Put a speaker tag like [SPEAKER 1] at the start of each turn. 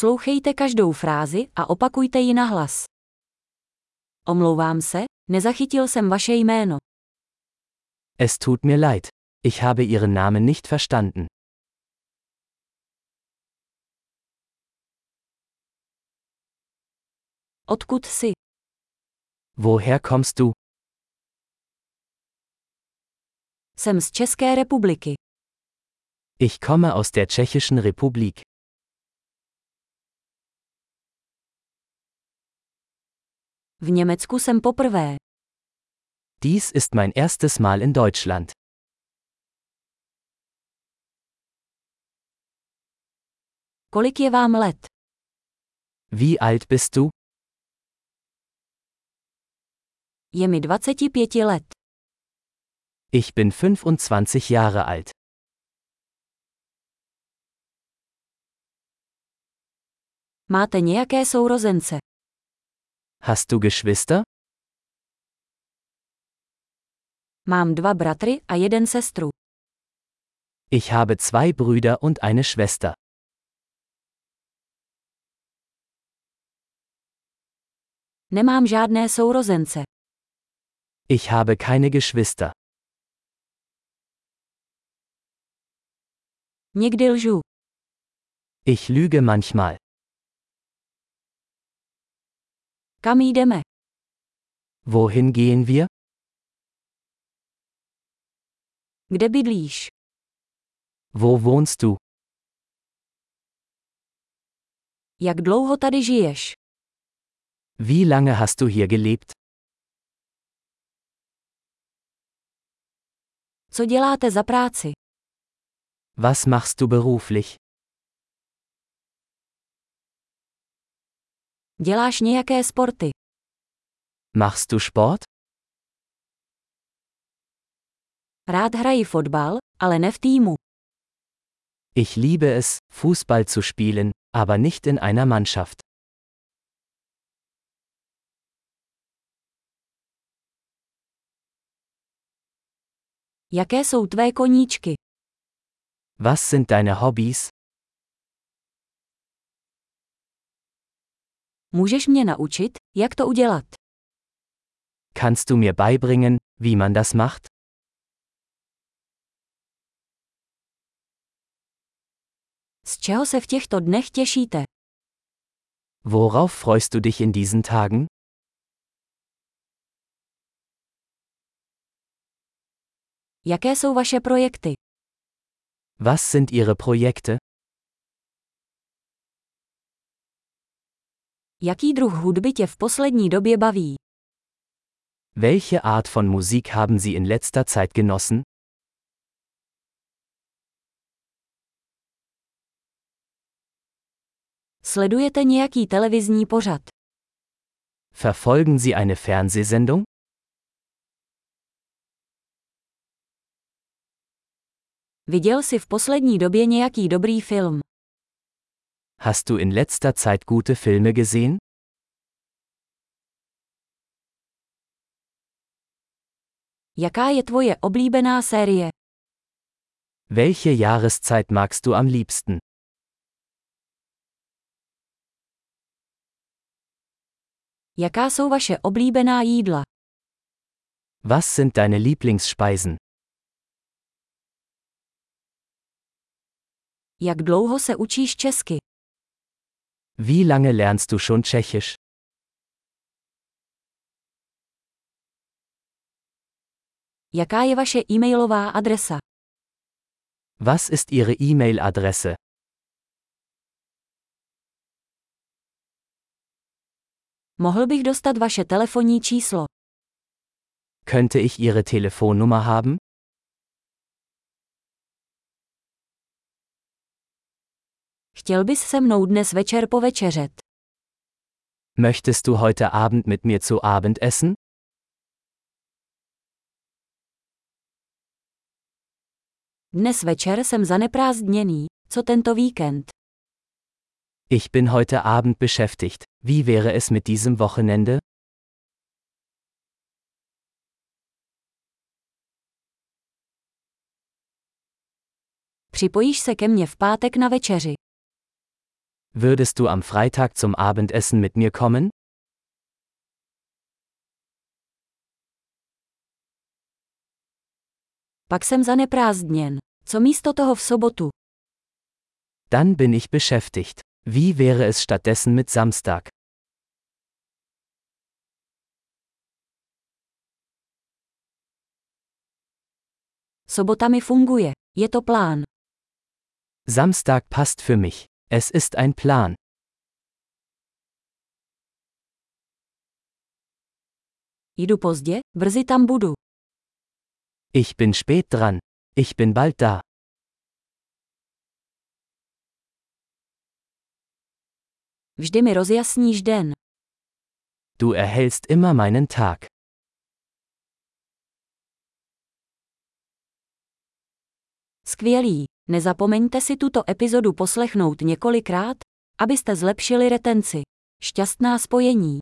[SPEAKER 1] Poslouchejte každou frázi a opakujte ji na hlas. Omlouvám se, nezachytil jsem vaše jméno.
[SPEAKER 2] Es tut mir leid. Ich habe Ihren Namen nicht verstanden.
[SPEAKER 1] Odkud jsi?
[SPEAKER 2] Woher kommst du?
[SPEAKER 1] Jsem z České republiky.
[SPEAKER 2] Ich komme aus der Tschechischen Republik.
[SPEAKER 1] V Německu jsem poprvé.
[SPEAKER 2] Dies ist mein erstes Mal in Deutschland.
[SPEAKER 1] Kolik je vám let?
[SPEAKER 2] Wie alt bist du?
[SPEAKER 1] Je mi 25 let.
[SPEAKER 2] Ich bin 25 Jahre alt.
[SPEAKER 1] Máte nějaké sourozence?
[SPEAKER 2] Hast du Geschwister?
[SPEAKER 1] Mám dva bratry a jeden sestru.
[SPEAKER 2] Ich habe zwei Brüder und eine Schwester.
[SPEAKER 1] Nemám žádné sourozence.
[SPEAKER 2] Ich habe keine Geschwister.
[SPEAKER 1] Někdy lžu.
[SPEAKER 2] Ich lüge manchmal.
[SPEAKER 1] Kam jdeme?
[SPEAKER 2] Wohin gehen wir?
[SPEAKER 1] Kde bydlíš?
[SPEAKER 2] Wo wohnst du?
[SPEAKER 1] Jak dlouho tady žiješ?
[SPEAKER 2] Wie lange hast du hier gelebt?
[SPEAKER 1] Co děláte za práci?
[SPEAKER 2] Was machst du beruflich?
[SPEAKER 1] Děláš nějaké sporty?
[SPEAKER 2] Machst du Sport?
[SPEAKER 1] Rád hraji fotbal, ale ne v týmu.
[SPEAKER 2] Ich liebe es, Fußball zu spielen, aber nicht in einer Mannschaft.
[SPEAKER 1] Jaké jsou tvé koníčky?
[SPEAKER 2] Was sind deine Hobbys?
[SPEAKER 1] Můžeš mě naučit, jak to udělat?
[SPEAKER 2] Kannst du mir beibringen, wie man das macht?
[SPEAKER 1] Z čeho se v těchto dnech těšíte?
[SPEAKER 2] Worauf freust du dich in diesen Tagen?
[SPEAKER 1] Jaké jsou vaše projekty?
[SPEAKER 2] Was sind ihre Projekte?
[SPEAKER 1] Jaký druh hudby tě v poslední době baví?
[SPEAKER 2] Welche Art von Musik haben sie in letzter Zeit genossen?
[SPEAKER 1] Sledujete nějaký televizní pořad?
[SPEAKER 2] Verfolgen sie eine Fernsehsendung?
[SPEAKER 1] Viděl jsi v poslední době nějaký dobrý film?
[SPEAKER 2] Hast du in letzter Zeit gute Filme gesehen?
[SPEAKER 1] Jaká je tvoje oblíbená série?
[SPEAKER 2] Welche Jahreszeit magst du am liebsten?
[SPEAKER 1] Jaká jsou vaše oblíbená jídla?
[SPEAKER 2] Was sind deine Lieblingsspeisen?
[SPEAKER 1] Jak dlouho se učíš česky?
[SPEAKER 2] Wie lange lernst du schon Tschechisch?
[SPEAKER 1] Jaká je vaše e-mailová adresa?
[SPEAKER 2] Was ist ihre E-Mail-Adresse?
[SPEAKER 1] Mohl bych dostat vaše telefonní číslo?
[SPEAKER 2] Könnte ich ihre Telefonnummer haben?
[SPEAKER 1] Chtěl bys se mnou dnes večer povečeřet?
[SPEAKER 2] Möchtest du heute Abend mit mir zu Abend essen?
[SPEAKER 1] Dnes večer jsem zaneprázdněný, co tento víkend?
[SPEAKER 2] Ich bin heute Abend beschäftigt. Wie wäre es mit diesem Wochenende?
[SPEAKER 1] Připojíš se ke mně v pátek na večeři.
[SPEAKER 2] Würdest du am Freitag zum Abendessen mit mir kommen?
[SPEAKER 1] Pak jsem zaneprázdněn. Co místo toho v sobotu?
[SPEAKER 2] Dann bin ich beschäftigt. Wie wäre es stattdessen mit Samstag?
[SPEAKER 1] Sobota mi funguje. Je to plán.
[SPEAKER 2] Samstag passt für mich. Es ist ein Plan.
[SPEAKER 1] Jdu pozdě, brzy tam budu.
[SPEAKER 2] Ich bin spät dran. Ich bin bald da.
[SPEAKER 1] Vždy mi rozjasníš den.
[SPEAKER 2] Du erhältst immer meinen Tag.
[SPEAKER 1] Skvělý. Nezapomeňte si tuto epizodu poslechnout několikrát, abyste zlepšili retenci. Šťastná spojení.